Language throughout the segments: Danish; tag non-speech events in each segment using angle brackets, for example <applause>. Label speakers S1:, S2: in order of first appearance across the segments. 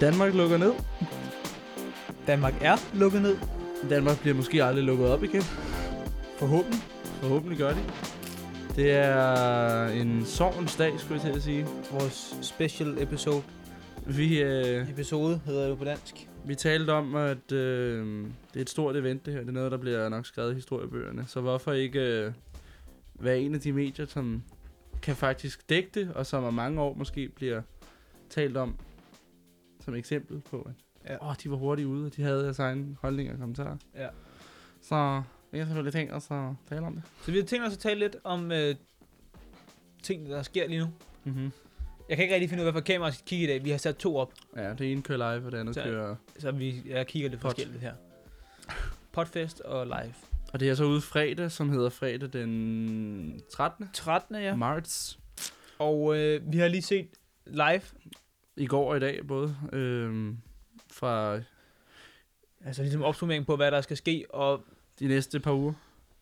S1: Danmark lukker ned.
S2: Danmark er lukket ned.
S1: Danmark bliver måske aldrig lukket op igen.
S2: Forhåbentlig.
S1: Forhåbentlig gør de. Det er en sorgens dag, skulle jeg til at sige.
S2: Vores special episode.
S1: Vi, øh,
S2: Episode hedder det jo på dansk.
S1: vi talte om, at øh, det er et stort event, det her. Det er noget, der bliver nok skrevet i historiebøgerne. Så hvorfor ikke øh, være en af de medier, som kan faktisk dække det, og som om mange år måske bliver talt om som eksempel på, at
S2: Ja.
S1: åh, de var hurtigt ude, og de havde deres egen holdning og kommentarer.
S2: Ja.
S1: Så jeg har selvfølgelig tænkt os at tale om det.
S2: Så vi har tænkt os at tale lidt om øh, ting, der sker lige nu.
S1: Mm-hmm.
S2: Jeg kan ikke rigtig finde ud af, hvad for kamera jeg skal kigge i dag. Vi har sat to op,
S1: Ja, det ene kører live, og det andet
S2: Så-
S1: kører...
S2: så vi, jeg kigger lidt
S1: Pot.
S2: forskelligt her. Podfest og live.
S1: Og det er så ude fredag, som hedder fredag den 13.
S2: 13.
S1: Ja.
S2: ja.
S1: marts.
S2: Og øh, vi har lige set live.
S1: I går og i dag både. Øhm, fra
S2: Altså ligesom opsummering på, hvad der skal ske. Og
S1: de næste par uger.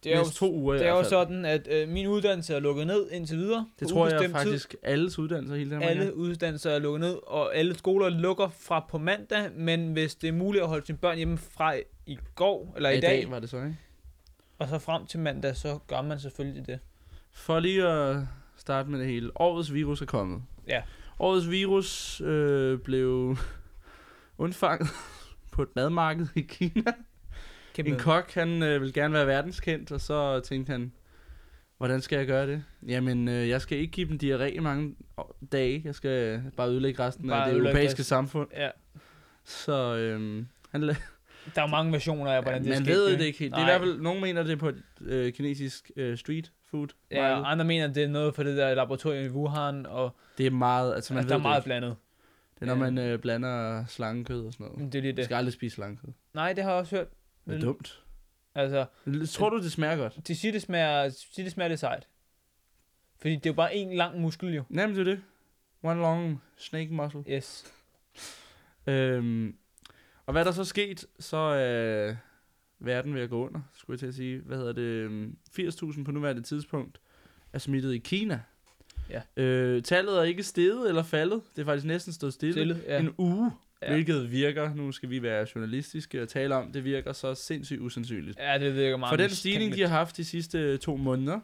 S2: det er jo,
S1: næste to uger
S2: det
S1: i
S2: er jo
S1: hvert fald.
S2: sådan, at øh, min uddannelse er lukket ned indtil videre.
S1: Det
S2: på
S1: tror jeg
S2: ubestemt tid.
S1: faktisk alles uddannelser i hele Danmark. er.
S2: Alle uddannelser er lukket ned, og alle skoler lukker fra på mandag, men hvis det er muligt at holde sine børn hjemme fra i går, eller
S1: Ja,
S2: i,
S1: I
S2: dag,
S1: dag var det så, ikke?
S2: og så frem til mandag, så gør man selvfølgelig det.
S1: For lige at starte med det hele. Årets virus er kommet.
S2: Ja.
S1: Årets virus øh, blev undfanget <laughs> på et madmarked i Kina.
S2: Kæmpe.
S1: En kok, han øh, vil gerne være verdenskendt, og så tænkte han, hvordan skal jeg gøre det? Jamen, øh, jeg skal ikke give dem diarré i mange år- dage. Jeg skal bare ødelægge resten
S2: Bare
S1: bare af det
S2: ødelægge
S1: europæiske
S2: resten.
S1: samfund.
S2: Ja,
S1: Så øh, han, la-
S2: der er jo mange versioner af, hvordan
S1: man
S2: det sker.
S1: ved det ikke helt. Det er i
S2: Nej.
S1: hvert fald, nogen mener det er på et øh, kinesisk øh, street food.
S2: Ja,
S1: marked.
S2: og andre mener, at det er noget for det der laboratorium i Wuhan, og
S1: Det er meget, altså man altså,
S2: altså, der
S1: ved
S2: er meget
S1: det, ikke.
S2: blandet.
S1: det er, når man øh, blander slangekød og sådan noget.
S2: Men Det er lige
S1: Man
S2: Mm, det.
S1: skal aldrig spise slangekød.
S2: Nej, det har jeg også hørt.
S1: Det er dumt.
S2: Altså,
S1: Tror du, det smager godt?
S2: de siger, det smager, de siger, det smager lidt sejt. Fordi det er jo bare en lang muskel, jo.
S1: Nemlig det. er det. One long snake muscle.
S2: Yes.
S1: Øhm, og hvad er der så sket, så er øh, verden ved at gå under, skulle jeg til at sige. Hvad hedder det? øhm, 80.000 på nuværende tidspunkt er smittet i Kina.
S2: Ja.
S1: Øh, tallet er ikke steget eller faldet. Det er faktisk næsten stået stille.
S2: Stillet, ja.
S1: En uge,
S2: Ja.
S1: ja. hvilket virker, nu skal vi være journalistiske og tale om, det virker så sindssygt usandsynligt.
S2: ja, det virker meget
S1: For den
S2: mistænkeligt.
S1: stigning, de har haft de sidste to måneder,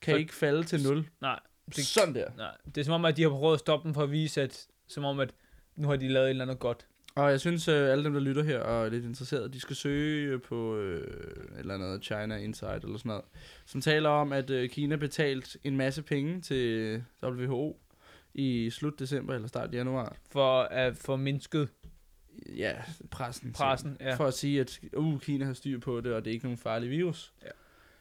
S1: kan
S2: Så-
S1: ikke falde til nul.
S2: Nej, det-
S1: Sådan der.
S2: Nej, det er som om, at de har prøvet at stoppe dem for at vise, at som om, at nu har de lavet et eller andet godt.
S1: Og jeg synes, øh, alle dem, der lytter her og er lidt interesseret, de skal søge på øh, et eller noget China Insight eller sådan noget, som taler om, at øh, Kina betalte en masse penge til øh, WHO i slut december eller start januar.
S2: For at få mindsket
S1: Ja, pressen.
S2: pressen. Ja.
S1: Ja. For at sige, at uh, Kina har styr på det, og det er ikke nogen farlig virus.
S2: Ja.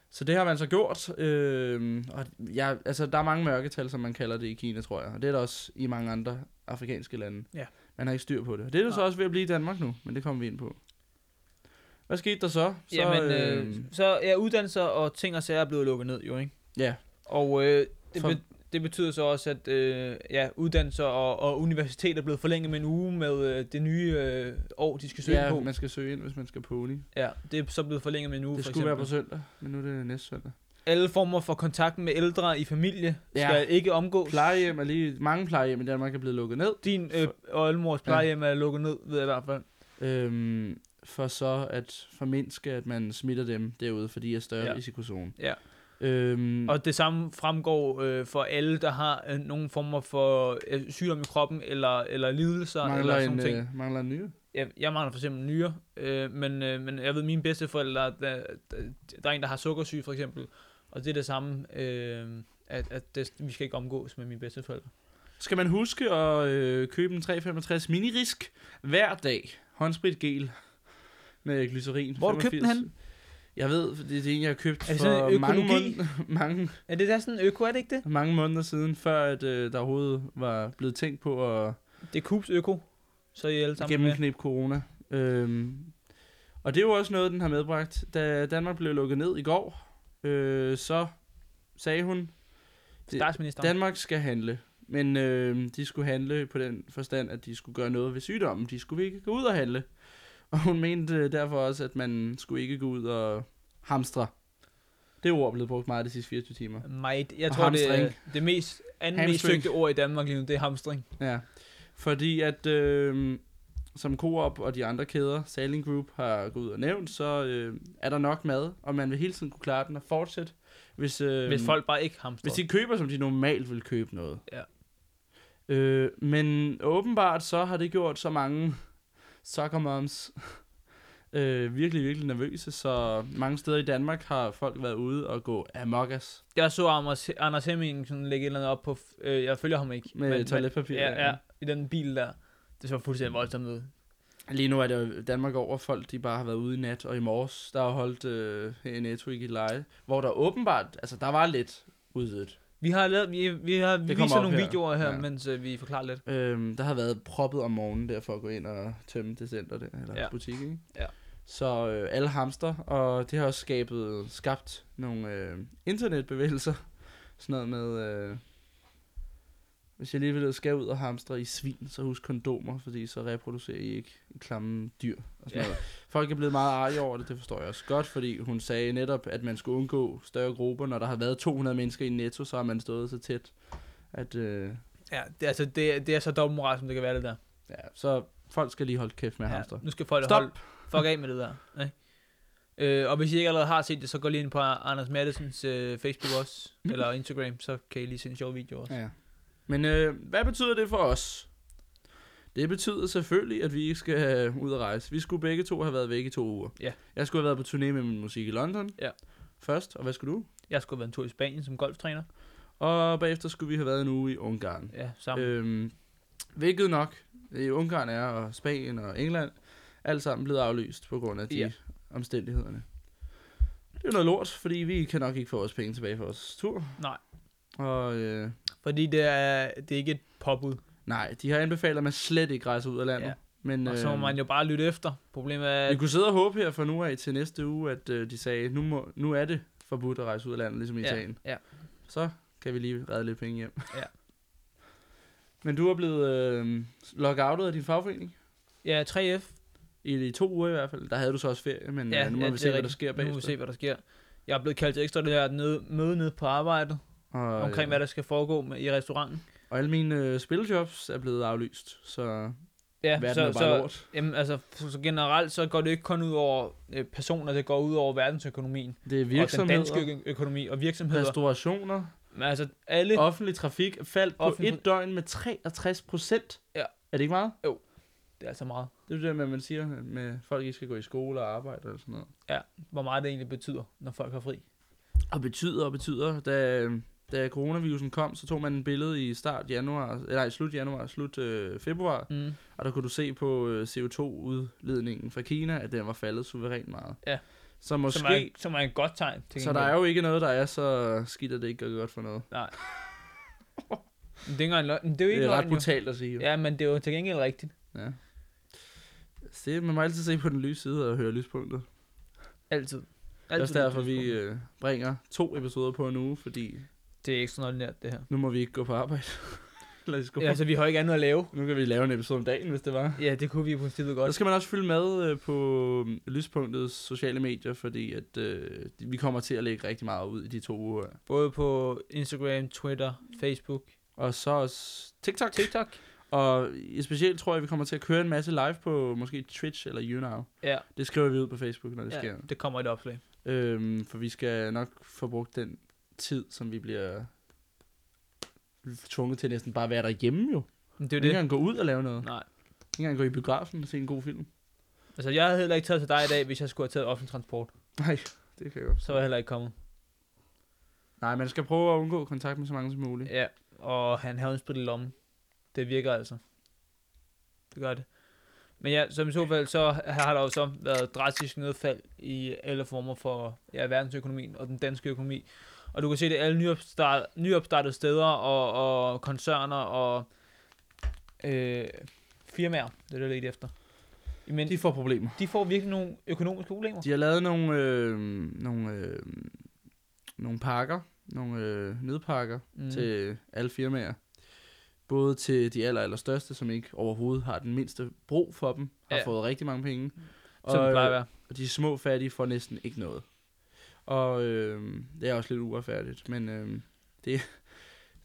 S1: Så det har man så gjort, øh, og jeg, altså, der er mange mørketal, som man kalder det i Kina, tror jeg, og det er der også i mange andre afrikanske lande.
S2: Ja.
S1: Man har ikke styr på det. Og det er der så
S2: Nej.
S1: også ved at blive i Danmark nu, men det kommer vi ind på. Hvad skete der så? så øhm,
S2: Så, Jamen, øh, så ja, uddannelser og ting og sager er blevet lukket ned, jo, ikke?
S1: ja,
S2: Og øh, det,
S1: For-
S2: be- det betyder så også, at øh, ja, uddannelser og, og universitet er blevet forlænget med en uge med øh, det nye øh, år, de skal søge
S1: ja
S2: på.
S1: man skal søge ind, hvis man skal pony.
S2: Ja, det er så blevet forlænget med en uge,
S1: det
S2: for
S1: skulle være på
S2: eksempel.
S1: søndag, men nu er det næste søndag.
S2: Alle former for kontakt med ældre i familie
S1: Ja.
S2: skal ikke omgås.
S1: Plejehjem er lige, mange plejehjem i Danmark er blevet lukket ned.
S2: Din øh, og Elmors plejehjem er lukket ned, ved jeg i hvert fald.
S1: øhm, for så at formindske, at man smitter dem derude, fordi de er større
S2: Ja.
S1: ja. risikozone.
S2: Ja.
S1: Øhm, og
S2: Og det samme fremgår øh, for alle, der har øh, nogen former for øh, sygdom i kroppen, eller, eller lidelser,
S1: mangler,
S2: eller sådan
S1: en,
S2: nogle ting.
S1: øh, mangler en nye.
S2: Jeg, jeg mangler for eksempel nyre, øh, men, øh, men jeg ved, mine bedsteforældre, der, der, der er en, der har sukkersyge for eksempel, og det er det samme, øh, at, at det, vi skal ikke omgås med mine bedsteforældre.
S1: Skal man huske at øh, købe en 365 minirisk hver dag? Håndsprit gel med glycerin.
S2: Hvor har du købt den
S1: 85.
S2: henne?
S1: Jeg ved, for det er det en, jeg har købt
S2: Er det sådan
S1: for
S2: en
S1: mange,
S2: økologi?
S1: måneder, <laughs> mange,
S2: Er det der sådan øko, er det ikke det?
S1: mange måneder siden, før at, øh, der overhovedet var blevet tænkt på at
S2: Det er Coops øko, så er I alle sammen med.
S1: gennemknæbe corona. Øhm, og det er jo også noget, den har medbragt. Da Danmark blev lukket ned i går, øh, så sagde hun,
S2: øh, Statsministeren.
S1: Danmark skal handle. Men øh, de skulle handle på den forstand, at de skulle gøre noget ved sygdommen. De skulle ikke gå ud og handle. Og hun mente øh, derfor også, at man skulle ikke gå ud og hamstre. Det ord er blevet brugt meget de sidste 24 timer.
S2: Might. Jeg
S1: Og
S2: tror, det er
S1: hamstring.
S2: det mest, anden mest
S1: Hamstring.
S2: søgte ord i Danmark lige nu, det er hamstring.
S1: Ja. Fordi at, øh, som Coop og de andre kæder, Saling Group har gået ud og nævnt, så øh, er der nok mad, og man vil hele tiden kunne klare den og fortsætte, hvis, øh,
S2: Hvis folk bare ikke hamstrer.
S1: hvis de køber, som de normalt vil købe noget.
S2: Ja.
S1: Øh, men åbenbart så har det gjort så mange soccer moms øh, virkelig, virkelig nervøse, så mange steder i Danmark har folk været ude og gå amok us
S2: Jeg så Anders, Anders Hemming sådan lægge et eller andet op på... f- Øh, jeg følger ham ikke.
S1: med toiletpapir.
S2: ja, ja, i den bil der. Det så fuldstændig voldsomt ud.
S1: Lige nu er det jo Danmark over folk, de bare har været ude i nat, og i morges, der har holdt øh, en Netto i Gilleleje, hvor der åbenbart, altså der var lidt udvidet.
S2: Vi har lavet, vi, vi har vi
S1: kommer
S2: viser
S1: op
S2: nogle
S1: her.
S2: videoer her,
S1: Ja.
S2: ja. mens øh, vi forklarer lidt.
S1: Øhm, der har været proppet om morgenen der for at gå ind og tømme det center der, eller ja.
S2: Ja.
S1: butik, ikke?
S2: Ja.
S1: Så øh, alle hamster, og det har også skabet, skabt nogle øh, internetbevægelser. Sådan noget med, øh, hvis jeg lige vil skal ud og hamstre i svin, så husk kondomer, fordi så reproducerer I ikke klamme dyr. Og sådan
S2: Ja.
S1: noget. Folk er blevet meget arge over det, det forstår jeg også godt, fordi hun sagde netop, at man skulle undgå større grupper. Når der har været 200 mennesker i netto, så har man stået så tæt, at... Øh,
S2: Ja, det, er altså, det, er- det er så dobbeltmoral, som det kan være det der.
S1: Ja, så folk skal lige holde kæft med ja.
S2: Ja,
S1: hamster.
S2: nu skal folk
S1: Stop!
S2: holde fuck af med det der. Ikke? Øh, og hvis I ikke allerede har set det, så gå lige ind på Anders Mattesens øh, Facebook også,
S1: <laughs>
S2: eller Instagram, så kan I lige se en sjov video også.
S1: Ja. Men øh, hvad betyder det for os? Det betyder selvfølgelig, at vi ikke skal øh, ud og rejse. Vi skulle begge to have været væk i to uger.
S2: Ja.
S1: Jeg skulle have været på turné med min musik i London.
S2: Ja.
S1: Først, og hvad skulle du?
S2: Jeg skulle have været en tur i Spanien som golftræner.
S1: Og bagefter skulle vi have været en uge i Ungarn.
S2: Ja, sammen. Øh.
S1: Øhm, hvilket nok i Ungarn er, og Spanien og England, alt sammen blevet aflyst på grund af de ja.
S2: Ja.
S1: omstændighederne. Det er noget lort, fordi vi kan nok ikke få vores penge tilbage for vores tur.
S2: Nej.
S1: Og øh,
S2: Fordi det er, det er ikke et påbud,
S1: Nej, de har anbefalet, at man slet ikke rejser ud af landet. Ja.
S2: Ja.
S1: Men
S2: og så må
S1: øh,
S2: man jo bare lytte efter. Problemet er,
S1: vi
S2: at
S1: kunne sidde og håbe her fra nu af til næste uge, at øh, de sagde, nu, må, nu er det forbudt at rejse ud af landet, ligesom i
S2: Ja,
S1: Italien.
S2: ja.
S1: Så kan vi lige redde lidt penge hjem.
S2: Ja.
S1: <laughs> Men du er blevet øh, lockoutet af din fagforening.
S2: ja, 3F
S1: I, I to uger i hvert fald. Der havde du så også ferie, men ja, nu må vi
S2: det
S1: se,
S2: er
S1: hvad der
S2: rigtigt.
S1: sker
S2: Nu må vi
S1: bagefter.
S2: se, hvad der sker. Jeg er blevet kaldt til ekstra det her nede, møde nede på arbejdet,
S1: Og,
S2: omkring
S1: øh,
S2: hvad der skal foregå med, i restauranten.
S1: og alle mine øh, spiljobs er blevet aflyst, så
S2: Ja,
S1: verden
S2: så,
S1: er bare
S2: så,
S1: lort.
S2: Jamen, altså, så generelt så går det ikke kun ud over øh, personer, det går ud over verdensøkonomien.
S1: Det er
S2: Og den danske
S1: virksomheder,
S2: ø- økonomi og virksomheder.
S1: restaurationer,
S2: Men altså, alle...
S1: offentlig trafik faldt på
S2: Offentlig-
S1: et døgn med 63 procent.
S2: Ja.
S1: Er det ikke meget?
S2: Det er altså meget.
S1: Det er jo det, man, man siger med, at folk ikke skal gå i skole og arbejde og sådan noget.
S2: Hvor meget det egentlig betyder, når folk har fri.
S1: Og betyder og betyder, da, da coronavirusen kom, så tog man en billede i start januar, eller nej, slut januar, slut øh, februar,
S2: Mm.
S1: og der kunne du se på øh, CO2-udledningen fra Kina, at den var faldet suverænt meget.
S2: Ja.
S1: Så
S2: Som, er,
S1: måske,
S2: som er et godt tegn. Til
S1: så der
S2: gengæld.
S1: er jo ikke noget, der er så skidt, at det ikke gør godt for noget.
S2: Nej. Men det er ikke engang løgn. Men Det er jo
S1: Det
S2: ikke
S1: er ret
S2: løgn, jo.
S1: brutalt at sige. jo.
S2: Ja, men det er jo til gengæld rigtigt.
S1: ja. Se, man må altid se på den lyse side og høre lyspunktet.
S2: Altid.
S1: Det er også derfor,
S2: tidspunkt.
S1: vi øh, bringer to episoder på en uge, fordi
S2: Det er ekstraordinært, det her.
S1: nu må vi ikke gå på arbejde. <laughs> Eller vi skal
S2: Ja, altså, vi har ikke andet at lave.
S1: Nu kan vi lave en episode om dagen, hvis det var.
S2: Ja, det kunne vi i princippet
S1: Og
S2: godt.
S1: så skal man også følge med øh, på øh, Lyspunktets sociale medier, fordi at, øh, vi kommer til at lægge rigtig meget ud i de to uger. her.
S2: Både på Instagram, Twitter, Facebook,
S1: Og så også TikTok.
S2: TikTok.
S1: Og i specielt tror jeg, vi kommer til at køre en masse live på måske Twitch eller YouNow.
S2: Ja,
S1: Det skriver vi ud på Facebook, når det sker.
S2: ja, det kommer et opslag.
S1: Øhm, for vi skal nok få brugt den tid, som vi bliver tvunget til næsten bare at være derhjemme jo.
S2: Men det er
S1: Ikke
S2: jo det.
S1: engang gå ud og lave noget.
S2: Nej.
S1: Ikke engang gå i biografen og se en god
S2: <laughs>
S1: film.
S2: Altså, jeg havde heller ikke taget til dig i dag, hvis jeg skulle have taget offentlig transport.
S1: Nej, det kan jeg godt.
S2: Så var jeg heller ikke kommet.
S1: Nej, man skal prøve at undgå kontakt med så mange som muligt.
S2: Ja, og han havde en sprit i lommen. Det virker altså. Det gør det. Men ja, som i så fald, så har der jo så været drastisk nedfald i alle former for ja, verdensøkonomien og den danske økonomi. Og du kan se det i alle nyopstart, nyopstartede steder og, og koncerner og øh, firmaer, det er det, jeg lidt efter. Men
S1: De
S2: de,
S1: får problemer.
S2: de får virkelig nogle økonomiske problemer.
S1: De har lavet nogle, øh, nogle, øh, nogle pakker, nogle øh, nødpakker mm. til alle firmaer. Både til de aller, aller største, som ikke overhovedet har den mindste brug for dem, har ja.
S2: Ja. Mm.
S1: fået rigtig mange penge.
S2: som det plejer at
S1: øh,
S2: være.
S1: Og de små fattige får næsten ikke noget. Og øh, det <laughs> er også lidt uretfærdigt, men øh, det, jeg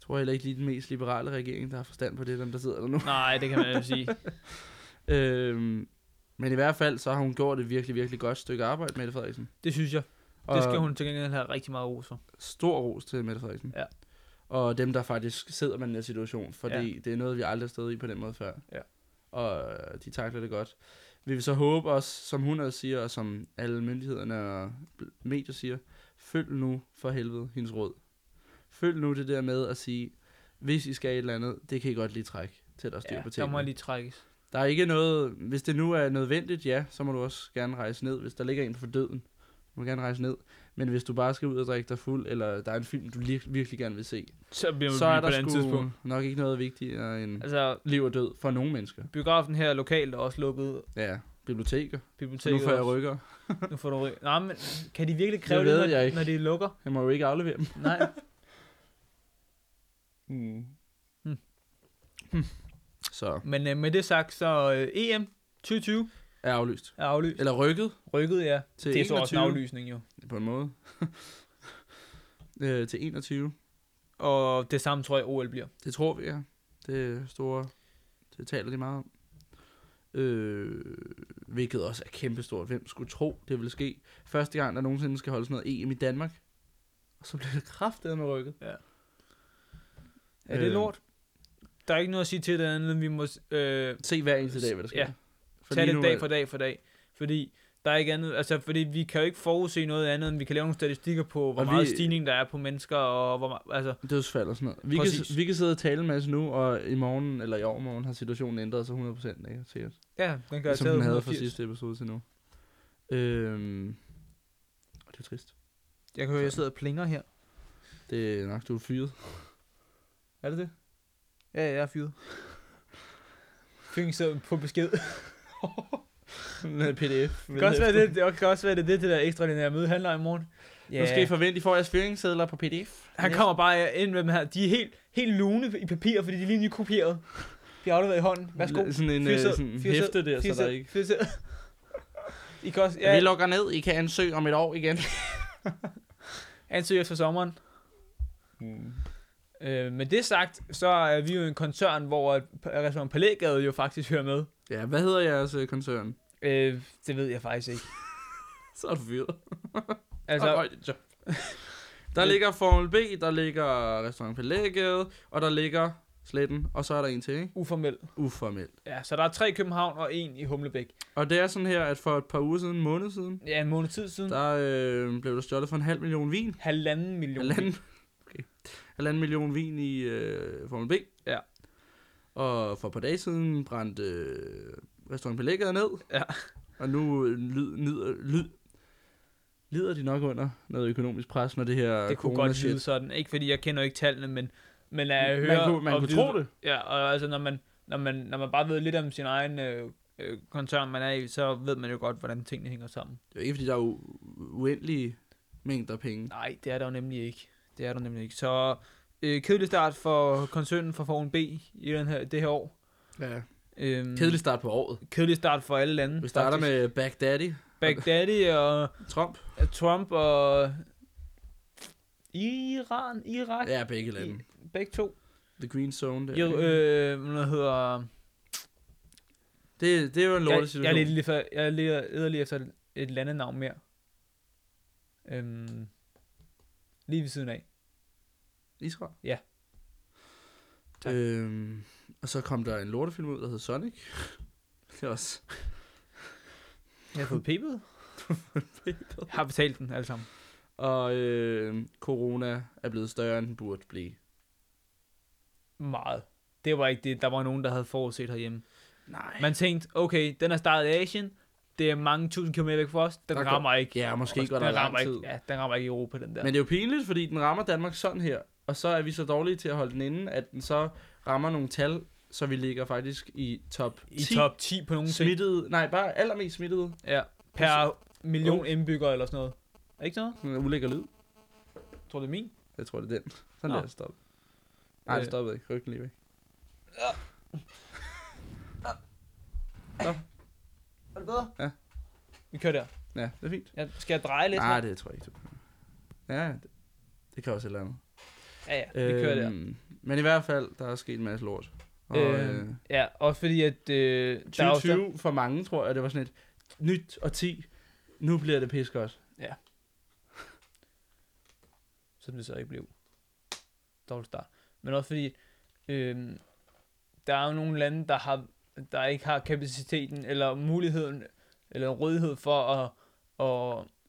S1: tror heller ikke lige den mest liberale regering, der har forstand på det, dem der sidder der nu.
S2: Nej, det kan man jo sige.
S1: Øhm, men i hvert fald, så har hun gjort et virkelig, virkelig godt stykke arbejde, Mette Frederiksen.
S2: Det synes jeg.
S1: <laughs> Og
S2: Det skal hun til gengæld have rigtig meget ros for.
S1: stor ros til Mette Frederiksen.
S2: Ja.
S1: Og dem, der faktisk sidder med den her situation, fordi ja. det er noget, vi aldrig har stået i på den måde før.
S2: Ja.
S1: Og øh, de takler det godt. Vi vil så håbe også, som hun også siger, og som alle myndighederne og bl- medier siger, følg nu for helvede hendes råd. Følg nu det der med at sige, hvis I skal et eller andet, det kan I godt lige trække til at styre
S2: Ja,
S1: på
S2: der må
S1: tingene.
S2: lige trækkes.
S1: Der er ikke noget, hvis det nu er nødvendigt, ja, så må du også gerne rejse ned. Hvis der ligger en for døden, så må du gerne rejse ned. Men hvis du bare skal ud og drikke dig fuld, eller der er en film, du lir- virkelig gerne vil se,
S2: Så bliver man
S1: så er
S2: på
S1: der
S2: et andet tidspunkt.
S1: sgu nok ikke noget vigtigere end
S2: Altså,
S1: liv og død for nogle mennesker.
S2: biografen her lokalt er også lukket.
S1: Ja, biblioteker. Så nu
S2: Biblioteket
S1: får jeg
S2: også.
S1: rykker.
S2: Nu får du ryg. Nej, men kan de virkelig kræve
S1: Det ved
S2: det, når,
S1: jeg ikke.
S2: når de lukker?
S1: Jeg må jo ikke aflevere dem. <laughs>
S2: Nej.
S1: Mm.
S2: Hmm.
S1: Så
S2: Men øh, med det sagt, så øh, EM 2020
S1: er aflyst.
S2: er aflyst.
S1: Eller rykket
S2: Rykket, ja.
S1: til
S2: det er
S1: 21.
S2: så også en aflysning, jo.
S1: På en måde. <laughs> øh, til 21.
S2: Og det samme tror jeg, OL bliver.
S1: Det tror vi, ja. Det er store... Det taler de meget om. Øh, hvilket også er kæmpestort. Hvem skulle tro, det ville ske? Første gang, der nogensinde skal holde sådan noget EM i Danmark. Og så bliver det kraftedet med rykket.
S2: Er det
S1: Øh.
S2: lort? Der er ikke noget at sige til det andet, end vi må øh,
S1: Se hver eneste dag, hvad der sker.
S2: Ja.
S1: For
S2: tage
S1: lige
S2: det
S1: nu
S2: dag
S1: er-
S2: for dag for dag. Fordi der er ikke andet, altså fordi vi kan jo ikke forudse noget andet, end vi kan lave nogle statistikker på, hvor
S1: Og vi-
S2: meget stigning der er på mennesker, og hvor meget, altså,
S1: Dødsfald og sådan noget. Vi
S2: Præcis.
S1: kan, vi kan sidde og tale en masse nu, og i morgen, eller i overmorgen, har situationen ændret sig 100%, ikke? Sikkert.
S2: ja, den
S1: Som
S2: kan jeg tage
S1: Ligesom den havde fra
S2: 180.
S1: sidste episode til nu. Øhm, og det er trist.
S2: Jeg kan høre, jeg sidder og plinger her.
S1: Det er nok, du er fyret. <laughs> Er det det?
S2: Ja, jeg er fyret. Fyring sidder på besked.
S1: Med pdf.
S2: Det kan, også være, det, det kan også være, det er det, det der ekstraordinære møde handler om i morgen.
S1: Yeah. Nu skal I forvente, I får jeres fyringssedler på pdf.
S2: Han kommer bare ind med dem her. De er helt, helt lune i papir, fordi de er lige nykopieret. De er afleveret i hånden. Værsgo.
S1: Sådan en øh, sådan en hæfte der, så der ikke...
S2: Fyrsæd. I kan også,
S1: Ja. Vi
S2: ja,
S1: lukker ned, I kan ansøge om et år igen.
S2: ansøg efter sommeren. Mm. Øh, med det sagt, så er vi jo en koncern, hvor at P- restaurant Palægade jo faktisk hører med.
S1: ja, hvad hedder jeres øh, koncern?
S2: Øh, det ved jeg faktisk ikke.
S1: Så er du fyret.
S2: Altså,
S1: Og- og- ja. Der ligger Formel B, der ligger Restaurant Palægade, og der ligger Sletten, og så er der en til, ikke?
S2: uformel.
S1: Uformelt.
S2: Ja, så der er tre i København og en i Humlebæk.
S1: Og det er sådan her, at for et par uger siden, en måned siden,
S2: Ja, en måned tid siden.
S1: der øh, blev der stjålet for en halv million vin.
S2: Halvanden million.
S1: Halvanden, okay. Halvanden million vin i øh, Formel B.
S2: Ja.
S1: Og for et par dage siden brændte øh, restaurant Belægget ned.
S2: Ja.
S1: Og nu øh, lyd, nyder, lyd, lider de nok under noget økonomisk pres, når det her
S2: Det kunne godt lyde sådan. Ikke fordi jeg kender jo ikke tallene, men, men at jeg hører...
S1: man kunne, man
S2: og
S1: kunne
S2: vide-
S1: tro det.
S2: Ja, og altså når man, når man, når man bare ved lidt om sin egen øh, øh, koncern, man er i, så ved man jo godt, hvordan tingene hænger sammen.
S1: Det er jo ikke, fordi der er u- uendelige mængder penge.
S2: Nej, det er der jo nemlig ikke. Det er der nemlig ikke. Så øh, kedelig start for koncernen for Forum B i den her, det her år.
S1: Ja.
S2: Øhm,
S1: Kedelig start på året.
S2: kedelig start for alle lande.
S1: Vi starter
S2: Mm, faktisk.
S1: med Baghdadi,
S2: Baghdadi og
S1: Trump.
S2: øh, Trump og Iran, Irak,
S1: Ja, begge lande.
S2: begge to.
S1: The Green Zone. Der.
S2: Ja, øh, hvad hedder...
S1: det, det er jo en lortesituation.
S2: Jeg, jeg, er lidt lige for, jeg leder, leder lige efter et landenavn mere. Øhm, lige ved siden af.
S1: Israel?
S2: Ja. Tak.
S1: Øhm, og så kom der en lortefilm ud, der hed Sonic. <laughs> Det er også...
S2: Jeg har fået
S1: <laughs>
S2: pebet. jeg har betalt den alle sammen.
S1: Og øh, corona er blevet større, end den burde blive.
S2: Meget. Det var ikke det. Der var nogen, der havde forudset herhjemme.
S1: Nej.
S2: Man tænkte, okay, den er startet i Asien. Det er mange tusind kilometer væk fra os. Den
S1: Der går-
S2: rammer ikke.
S1: Ja, måske
S2: den
S1: går der lang
S2: rammer
S1: tid.
S2: ikke, Ja, den rammer ikke Europa, den der.
S1: Men det er jo pinligt, fordi den rammer Danmark sådan her. Og så er vi så dårlige til at holde den inde, at den så rammer nogle tal, så vi ligger faktisk i top
S2: I
S1: 10
S2: top 10 på nogle ting.
S1: smittede. Nej, bare allermest smittede.
S2: Ja, per million indbyggere eller sådan noget. Er ikke sådan noget?
S1: Sådan en Ulækker lyd.
S2: Tror du, det er min?
S1: Jeg tror, det er den. Sådan
S2: Nå.
S1: der, stop. Nej, det
S2: Øh.
S1: stoppede ikke. Ryk den lige væk.
S2: Er det bedre?
S1: Ja.
S2: Vi kører der.
S1: Ja, det er fint.
S2: Jeg, skal jeg dreje lidt?
S1: Nej,
S2: her?
S1: det tror jeg ikke. du- Ja, det, det kan også et eller andet.
S2: Ja, ja, vi kører der.
S1: Men i hvert fald, der er sket en masse lort. Øhm, Og, øh,
S2: Øh, ja, også fordi at... Øh, der er også-
S1: 2020 for mange, tror jeg, det var sådan et nyt og 10. Nu bliver det pis godt.
S2: som det så ikke blev. Dårlig start. Men også fordi, øh, der er jo nogle lande, der, har, der ikke har kapaciteten, eller muligheden, eller rådighed for at,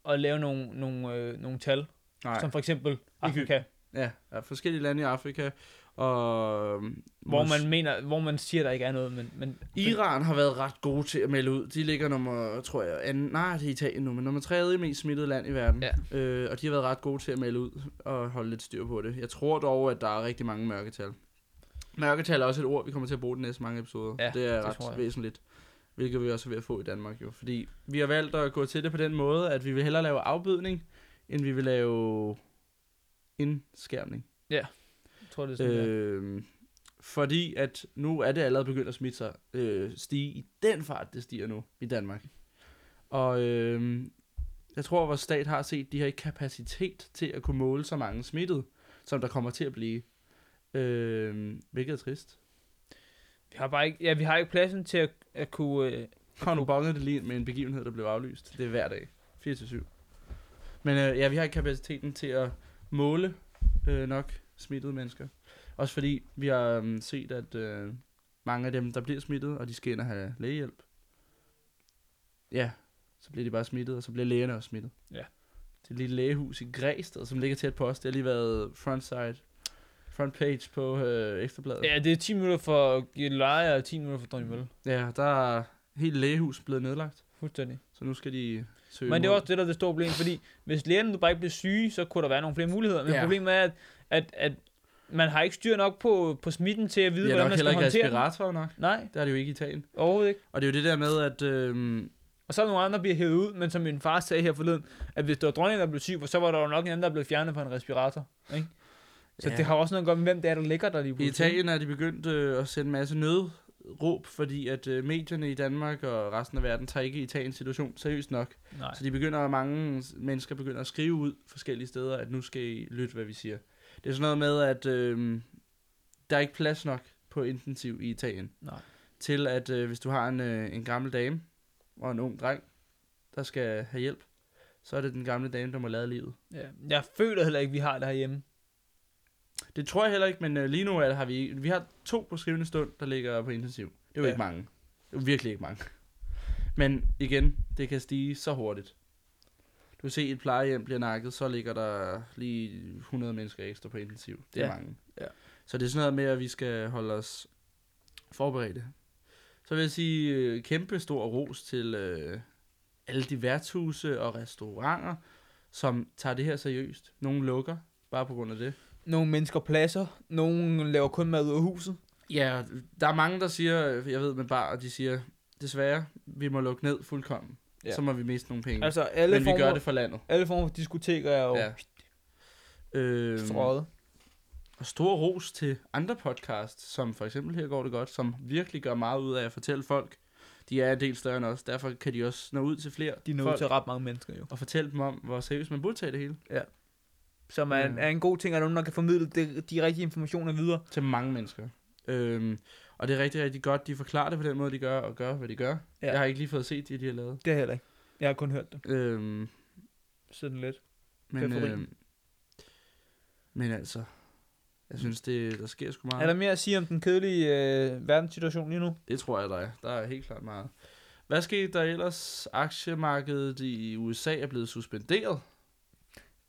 S2: at, at lave nogle, nogle, øh, nogle tal. Nej.
S1: Nej.
S2: Som for eksempel Afrika,
S1: Ja, ja, forskellige lande i Afrika. Og øhm,
S2: hvor man, mener, hvor man siger, der ikke er noget, men... men
S1: Iran har været ret gode til at melde ud. De ligger nummer, tror jeg, anden, nej, det er Italien nu, men nummer tredje mest smittede land i verden.
S2: Ja.
S1: Øh, og de har været ret gode til at melde ud og holde lidt styr på det. Jeg tror dog, at der er rigtig mange mørketal. Mørketal er også et ord, vi kommer til at bruge de næste mange episoder.
S2: Ja,
S1: det er
S2: det tror
S1: ret
S2: jeg.
S1: væsentligt. Hvilket vi også er ved at få i Danmark jo. Fordi vi har valgt at gå til det på den måde, at vi vil hellere lave afbydning, end vi vil lave indskærmning.
S2: Jeg tror, det er sådan, øh,
S1: Øh, fordi at nu er det allerede begyndt at smitte sig, øh, stige i den fart, det stiger nu i Danmark. Og øh, jeg tror, at vores stat har set, de har ikke kapacitet til at kunne måle så mange smittede, som der kommer til at blive. Øh, hvilket er trist.
S2: vi har bare ikke, ja, vi har ikke pladsen til at, at kunne... Øh,
S1: Har nu bonget det lige ind med en begivenhed, der blev aflyst. Det er hver dag. 4-7. Men øh, ja, vi har ikke kapaciteten til at måle øh, nok smittede mennesker. Også fordi vi har øh, set, at øh, mange af dem, der bliver smittet, og de skal ind og have lægehjælp. Ja, så bliver de bare smittet, og så bliver lægerne også smittet.
S2: Ja.
S1: Det er et lille lægehus i Græsted, som ligger tæt på os. Det har lige været frontside, frontpage på øh, Ekstrabladet.
S2: ja, det er 10 minutter for Gilleleje og 10 minutter for Dronningmølle.
S1: ja, der er helt lægehus blevet nedlagt.
S2: Fuldstændig.
S1: Så nu skal de søge
S2: Men det er
S1: mod-
S2: også det, der er det store problem, fordi hvis lægerne nu bare ikke bliver syge, så kunne der være nogle flere muligheder. Men
S1: Ja.
S2: ja. problemet er, at, at, at man har ikke styr nok på, på smitten til at vide,
S1: Vi har
S2: hvordan
S1: nok
S2: man
S1: heller
S2: skal
S1: ikke
S2: håndtere den.
S1: respiratorer nok.
S2: Nej,
S1: Der er det jo ikke i Italien.
S2: overhovedet ikke.
S1: Og det er jo det der med, at... Øh,
S2: Og så er der nogle andre, der bliver hævet ud, men som min far sagde her forleden, at hvis det var dronningen, der blev syg, så var der jo nok en anden, der blev fjernet fra en respirator. Ikke? Så
S1: Ja.
S2: ja. det har også noget at gøre med, hvem det er, der ligger der lige
S1: i
S2: pludselig.
S1: Italien er de begyndt øh, at sende en masse nødråb, fordi at øh, medierne i Danmark og resten af verden tager ikke Italiens situation seriøst nok.
S2: Nej.
S1: Så de begynder, mange s- mennesker begynder at skrive ud forskellige steder, at nu skal I lytte, hvad vi siger. Det er sådan noget med, at øh, der er ikke plads nok på intensiv i Italien.
S2: Nej.
S1: Til at øh, hvis du har en, øh, en gammel dame og en ung dreng, der skal have hjælp, så er det den gamle dame, der må lade livet.
S2: Ja. Jeg føler heller ikke, vi har det herhjemme.
S1: Det tror jeg heller ikke, men øh, lige nu er, har vi, vi har to på skrivende stund, der ligger på intensiv. Det er jo ja.
S2: Ja.
S1: ikke mange. Det er jo virkelig ikke mange. Men igen, det kan stige så hurtigt. Du kan se, et plejehjem bliver nakket, så ligger der lige 100 mennesker ekstra på intensiv. Det er
S2: Ja.
S1: mange.
S2: Ja.
S1: Så det er sådan noget med, at vi skal holde os forberedte. Så vil jeg sige øh, kæmpe stor ros til øh, alle de værtshuse og restauranter, som tager det her seriøst. Nogle lukker, bare på grund af det.
S2: Nogle mennesker pladser, nogle laver kun mad ud af huset.
S1: Ja, der er mange, der siger, øh, jeg ved med bar, og de siger, desværre, vi må lukke ned fuldkommen. Ja.
S2: Ja.
S1: Så må vi miste nogle penge. Altså,
S2: Altså, alle,
S1: Men vi
S2: former,
S1: gør det for landet.
S2: alle former for diskoteker er jo
S1: Ja.
S2: ja.
S1: Øhm,
S2: strøget.
S1: og stor ros til andre podcasts, som for eksempel Her går det godt, som virkelig gør meget ud af at fortælle folk. De er en del større end os, derfor kan de også nå ud til flere
S2: De er nået
S1: folk
S2: til ret mange mennesker jo.
S1: og fortælle dem om, hvor seriøst man burde tage det hele.
S2: Så man
S1: Ja.
S2: er en god ting, at nogen der kan formidle det, de rigtige informationer videre.
S1: Til mange mennesker. Øhm, og det er rigtig, rigtig godt, de forklarer det på den måde, de gør, og gør, hvad de gør. Ja.
S2: Ja.
S1: Jeg har ikke lige fået set det, de har lavet.
S2: Det har jeg heller ikke. Jeg har kun hørt det.
S1: Øhm,
S2: Sådan lidt.
S1: Men,
S2: Perforin.
S1: øh, men altså, jeg synes, det, der sker sgu
S2: Er
S1: meget.
S2: der mere at sige om den kedelige øh, verdenssituation lige nu?
S1: Det tror jeg, der er. Der er helt klart meget. Hvad skete der ellers? Aktiemarkedet i USA er blevet suspenderet.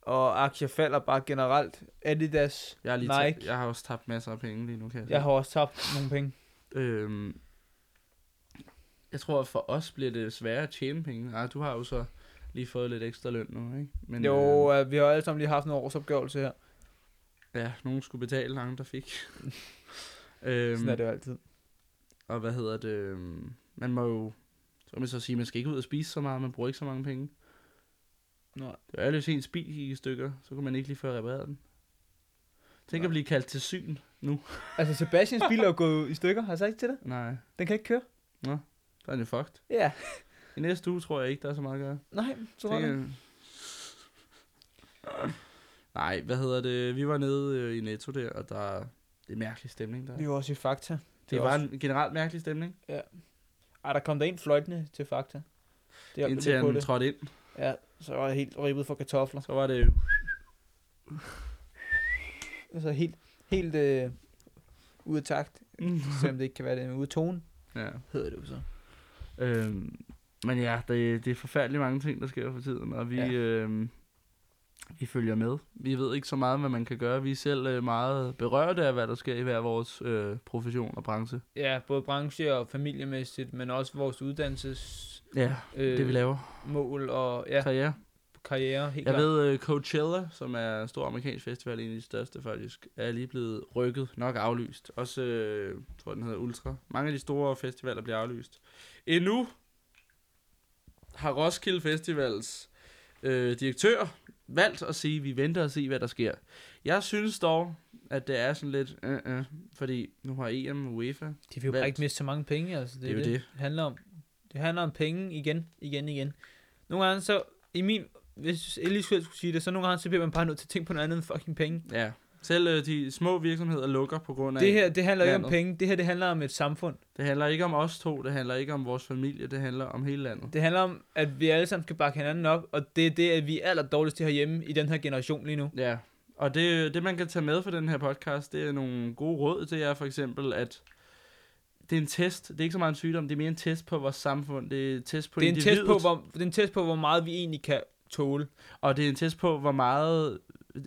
S2: Og aktier falder bare generelt. Adidas.
S1: Jeg har, lige
S2: Nike.
S1: tabt, jeg har også tabt masser af penge lige nu, kan jeg,
S2: Jeg
S1: jeg
S2: har også tabt nogle penge.
S1: øhm, Jeg tror, at for os bliver det sværere at tjene penge. Ej, du har jo så lige fået lidt ekstra løn nu, ikke? Men,
S2: Men, jo, øh, vi har alle sammen lige haft en årsopgørelse her.
S1: Øh, ja, nogen skulle betale, andre fik. <laughs> øhm,
S2: Sådan er det jo altid.
S1: Og hvad hedder det? øhm, Man må jo... Så kan man så sige, man skal ikke ud og spise så meget, man bruger ikke så mange penge.
S2: Nej.
S1: Det var ærligt, hvis ens bil gik i stykker, så kunne man ikke lige få repareret den. Tænk
S2: Nej.
S1: at blive kaldt til syn.
S2: Altså, Sebastians bil er jo gået i stykker. Har jeg sagt til det?
S1: Nej,
S2: Den kan ikke køre.
S1: der er den jo fucked.
S2: Ja.
S1: I næste uge tror jeg ikke, der er så meget at gøre.
S2: Nej, så var
S1: Det
S2: det.
S1: kan- Øh, Nej, hvad hedder det? Vi var nede øh, i Netto der, og der det er mærkelig stemning der.
S2: Vi var også i Fakta.
S1: Det, det var også... en generelt mærkelig stemning,
S2: Ej, der kom der en fløjtende til Fakta. Det hjalp
S1: indtil
S2: lidt på
S1: han
S2: det.
S1: trådte ind.
S2: Ja, så var jeg helt ribbet for kartofler.
S1: Så var det
S2: Altså helt, helt øh, ude af takt,
S1: Mm.
S2: selvom det ikke kan være det, men ude af tone,
S1: <laughs> ja.
S2: hedder det jo så.
S1: Øhm, men ja, det, det er forfærdeligt mange ting, der sker for tiden, og vi,
S2: Ja.
S1: ja. øhm, vi følger med. Vi ved ikke så meget, hvad man kan gøre. Vi er selv øh, meget berørte af, hvad der sker i hver vores øh, profession og branche.
S2: Ja, både branche og familiemæssigt, men også vores uddannelsesmål
S1: Ja, øh, det vi laver.
S2: mål og ja,
S1: Så ja.
S2: karriere, helt
S1: Jeg
S2: klart.
S1: ved, øh, Coachella, som er en stor amerikansk festival, en af de største faktisk, er lige blevet rykket, nok aflyst. Også, øh, jeg tror den hedder Ultra. Mange af de store festivaler bliver aflyst. Endnu har Roskilde Festivals øh, direktør valgt at sige, at vi venter og se, hvad der sker. Jeg synes dog, at det er sådan lidt, øh, øh, fordi nu har EM og UEFA. Det
S2: De vil jo
S1: valgt.
S2: bare ikke miste så mange penge, altså.
S1: er jo det.
S2: det handler om. Det handler om penge igen, igen, igen. Nogle gange så, i min, hvis Elis selv skulle sige det, så nogle gange så bliver man bare nødt til at tænke på noget andet end fucking penge.
S1: Ja. Selv øh, de små virksomheder lukker på grund af...
S2: Det her, det handler ikke om
S1: landet.
S2: penge, det her, det handler om et samfund.
S1: det handler ikke om os to, det handler ikke om vores familie, det handler om hele landet.
S2: Det handler om, at vi alle sammen skal bakke hinanden op, og det er det, at vi er aller dårligst til herhjemme i den her generation lige nu.
S1: Ja, og det, det man kan tage med fra den her podcast, det er nogle gode råd til jer, for eksempel, at det er en test. Det er ikke så meget en sygdom, det er mere en test på vores samfund. Det er en test på
S2: det, er en test
S1: individet,
S2: på, hvor, det er en test på, hvor meget vi egentlig kan tåle.
S1: og det er en test på, hvor meget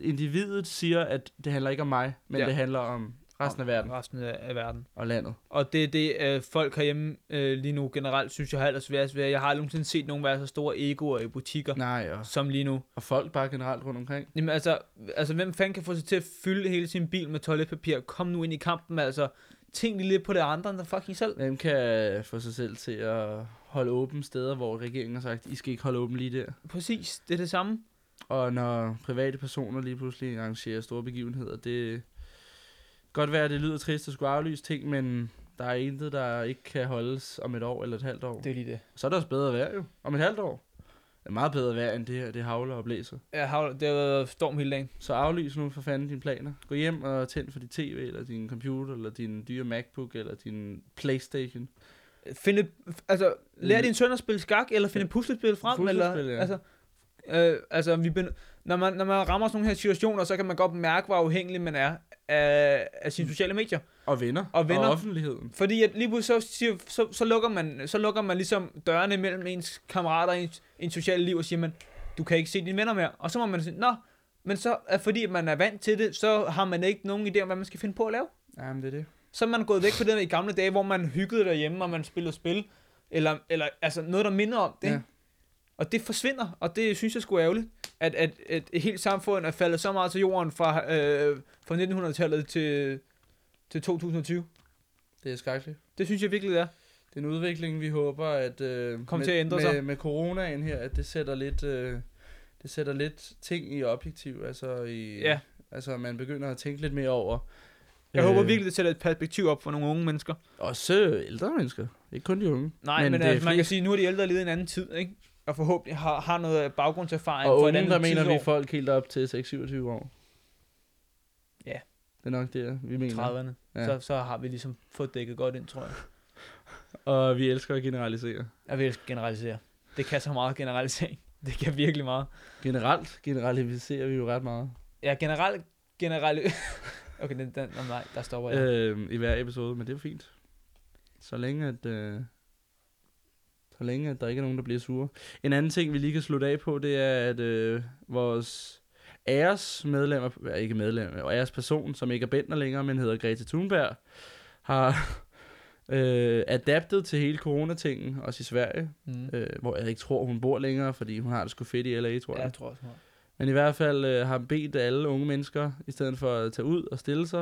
S1: individet siger, at det handler ikke om mig, men
S2: Ja.
S1: ja. det handler om resten af verden
S2: Resten af, af verden.
S1: og landet.
S2: Og det er det, øh, folk herhjemme øh, lige nu generelt synes, jeg har allersværest ved. Jeg har aldrig nogensinde set nogen være så store egoer i butikker,
S1: Nej, og,
S2: som lige nu.
S1: og folk bare generelt rundt omkring.
S2: Jamen altså, altså, hvem fanden kan få sig til at fylde hele sin bil med toiletpapir? Kom nu ind i kampen, altså. Tænk lige lidt på det andre, end der fucking selv.
S1: Hvem kan få sig selv til at holde åbne steder, hvor regeringen har sagt, I skal ikke holde åben lige der?
S2: Præcis, det er det samme.
S1: Og når private personer lige pludselig arrangerer store begivenheder, det kan godt være, at det lyder trist at skulle aflyse ting, men der er intet, der ikke kan holdes om et år eller et halvt år. Det.
S2: er lige det.
S1: Så er der også bedre vejr jo, om et halvt år. Det er meget bedre vejr end det her, det havler og blæser.
S2: Ja, havl- det har været storm hele dagen.
S1: Så aflys nu for fanden dine planer. Gå hjem og tænd for dit tv, eller din computer, eller din dyre MacBook, eller din Playstation.
S2: finde, altså, lær
S1: Mm.
S2: din søn at spille skak, eller finde puslespil frem,
S1: Puslespil,
S2: eller,
S1: ja.
S2: altså, øh, altså, vi ben, når, man, når man rammer sådan nogle her situationer, så kan man godt mærke, hvor afhængig man er af, af sine sociale medier.
S1: Og venner.
S2: Og venner.
S1: Og offentligheden.
S2: Fordi at lige pludselig så, siger, så, så, lukker man, så lukker man ligesom dørene mellem ens kammerater og ens, ens sociale liv, og siger man, du kan ikke se dine venner mere. Og så må man sige, nå, men så er fordi at man er vant til det, så har man ikke nogen idé om, hvad man skal finde på at lave.
S1: Jamen, det er det.
S2: Så er man gået væk fra det der i gamle dage, hvor man hyggede derhjemme, og man spillede spil, eller, eller altså noget, der minder om det.
S1: Ja.
S2: Ja. Og det forsvinder, og det synes jeg skulle ærgerligt, at, at, at et helt samfund er faldet så meget til jorden fra, øh, fra 1900-tallet til, til 2020.
S1: Det er skrækkeligt.
S2: Det synes jeg virkelig det er.
S1: Det er en udvikling, vi håber, at øh,
S2: Kom
S1: med,
S2: til at ændre
S1: med,
S2: sig.
S1: med coronaen her, at det sætter lidt, øh, det sætter lidt ting i objektiv, altså i,
S2: Ja.
S1: altså man begynder at tænke lidt mere over.
S2: Jeg øh. håber virkelig, det sætter et perspektiv op for nogle unge mennesker.
S1: Også øh, ældre mennesker, ikke kun de unge.
S2: Nej, men, men
S1: det er
S2: altså, man kan
S1: flest-
S2: sige, nu er de ældre levet i en anden tid, ikke? Og forhåbentlig har, har noget baggrundserfaring
S1: og
S2: fra
S1: unge,
S2: et andet
S1: der mener vi
S2: tidsår.
S1: er folk helt op til 6-27 år.
S2: Ja.
S1: Det er nok det, vi mener.
S2: 30'erne. Ja.
S1: Ja.
S2: Så, så har vi ligesom fået dækket godt ind, tror jeg.
S1: Og vi elsker at generalisere.
S2: Jeg vil elske generalisere. Det kan så meget generalisering. <laughs> Det kan virkelig meget.
S1: Generelt generaliserer vi jo ret meget
S2: Ja, generelt, generelt... <laughs> okay, den, den, oh, nej, der stopper jeg. Øh.
S1: øh, i hver episode, men det er jo fint. Så længe at... Øh, så længe at der ikke er nogen, der bliver sure. En anden ting, vi lige kan slutte af på, det er, at øh, vores æresmedlemmer, ja, ikke medlem, og æresperson, som ikke er bænder længere, men hedder Grete Thunberg, har <laughs> øh, adaptet til hele coronatingen, også i Sverige,
S2: Mm.
S1: øh, hvor jeg ikke tror, hun bor længere, fordi hun har det sgu fedt i LA, tror
S2: Ja,
S1: jeg.
S2: jeg tror også. hun har.
S1: Men i hvert fald øh, har han bedt alle unge mennesker, i stedet for at tage ud og stille sig,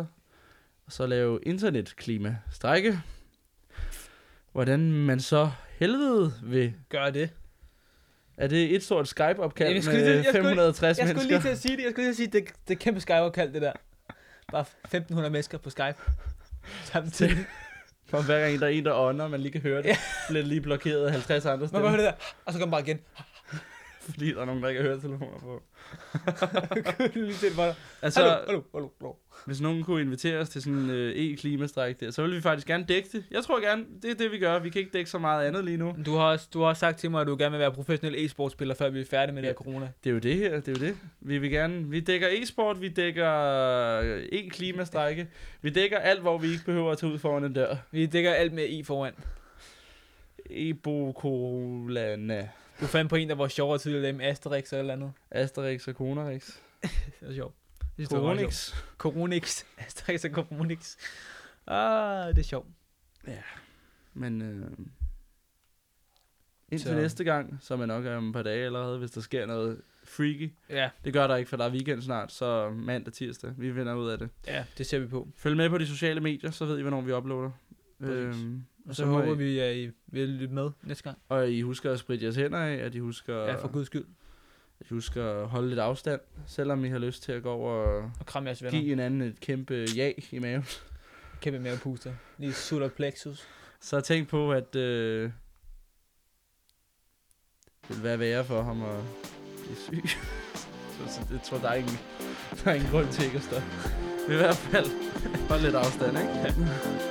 S1: og så lave internetklima-strække. Hvordan man så helvede vil...
S2: Gør det.
S1: Er det et stort Skype-opkald
S2: Ja, jeg
S1: med
S2: skulle lige til- jeg skulle lige-
S1: 560
S2: Jeg skulle
S1: mennesker?
S2: lige til at sige det. Jeg skulle lige til at sige, det, det er kæmpe Skype-opkald, det der. Bare 1500 mennesker på Skype. <laughs> Samtidig.
S1: For hver gang der er en, der ånder, og man lige kan høre det,
S2: Ja.
S1: bliver det lige blokeret af 50 andre
S2: Man kan
S1: stemmer.
S2: høre det der. Og så kommer bare igen.
S1: fordi der er nogen, der ikke har høretelefoner på.
S2: <laughs> Kunne lige se mig.
S1: Altså,
S2: Hallo, hallo, hallo, hallo.
S1: Hvis nogen kunne invitere os til sådan en øh, e-klimastræk der, så ville vi faktisk gerne dække det. Jeg tror gerne, det er det, vi gør. Vi kan ikke dække så meget andet lige nu.
S2: Du har, også, du har også sagt til mig, at du gerne vil være professionel e-sportspiller, før vi er færdige med ja. det her corona.
S1: Det er jo det her, det er jo det. Vi vil gerne, vi dækker e-sport, vi dækker øh, e-klimastrække. Vi dækker alt, hvor vi ikke behøver at tage ud foran en dør.
S2: Vi dækker alt med e foran.
S1: Ebokolana.
S2: Du fandt på en, der var sjovere tidligere, dem Asterix eller et eller andet.
S1: Asterix og Conorix.
S2: Det var sjovt. Det synes jeg var meget sjovt.
S1: Coronix.
S2: Coronix. <laughs> Asterix og Coronix. Ah, det er sjovt.
S1: Men øh, indtil
S2: Så-
S1: så. næste gang, som er nok øh, om et par dage allerede, hvis der sker noget freaky.
S2: Ja,
S1: Det gør der ikke, for der er weekend snart, så mandag tirsdag. Vi finder ud af det.
S2: ja, det ser vi på.
S1: Følg med på de sociale medier, så ved I, hvornår vi uploader.
S2: Præcis.
S1: Øhm,
S2: Og
S1: og, så
S2: så, så
S1: må
S2: håber
S1: I, vi...
S2: vi, at I vil lytte med næste gang.
S1: og I husker at spritte jeres hænder af, at I husker,
S2: Ja, for guds skyld.
S1: at I husker at holde lidt afstand, selvom I har lyst til at gå over og
S2: Og kram jeres venner.
S1: give hinanden et kæmpe ja i maven.
S2: Kæmpe mavepuster. Lige sutter plexus.
S1: Så tænk på, at øh, det vil være værre for ham at blive syg. <laughs> så, så det tror jeg, der er ingen, der er ingen grund til ikke at stoppe. I hvert fald, hold lidt afstand, ikke?